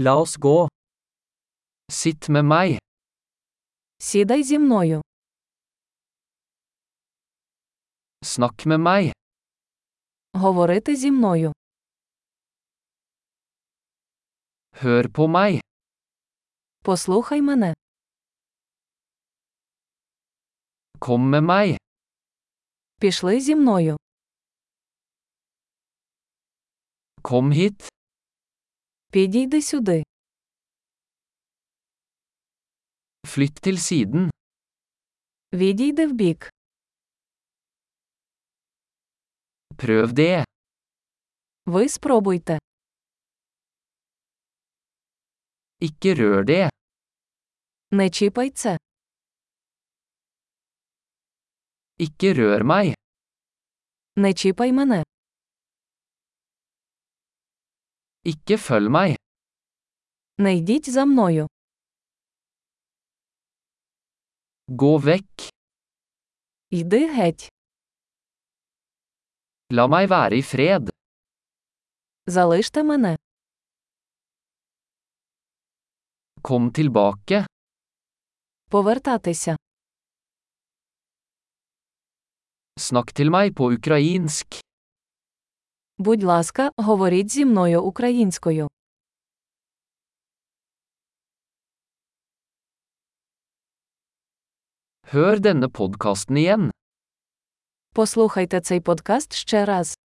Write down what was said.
La oss gå. Sitt med meg. Сідай зі мною. Snakk med meg. Говорити зі мною. Hør på meg. Послухай мене. Kom med meg. Пішли зі мною. Kom hit. Підійди сюди. Flytt til siden. Відійди вбік. Prøv det. Ви спробуйте. Ikke rør det. Не чіпай це. Ikke rør meg. Не чіпай мене. Ikke følg meg. Не йдіть за мною. Gå vekk. Йди геть. La meg være i fred. Залиште мене. Kom tilbake. Повертатися. Snakk til meg på ukrainsk. Будь ласка, говоріть зі мною українською. Hør denne podkasten igjen. Послухайте цей подкаст ще раз.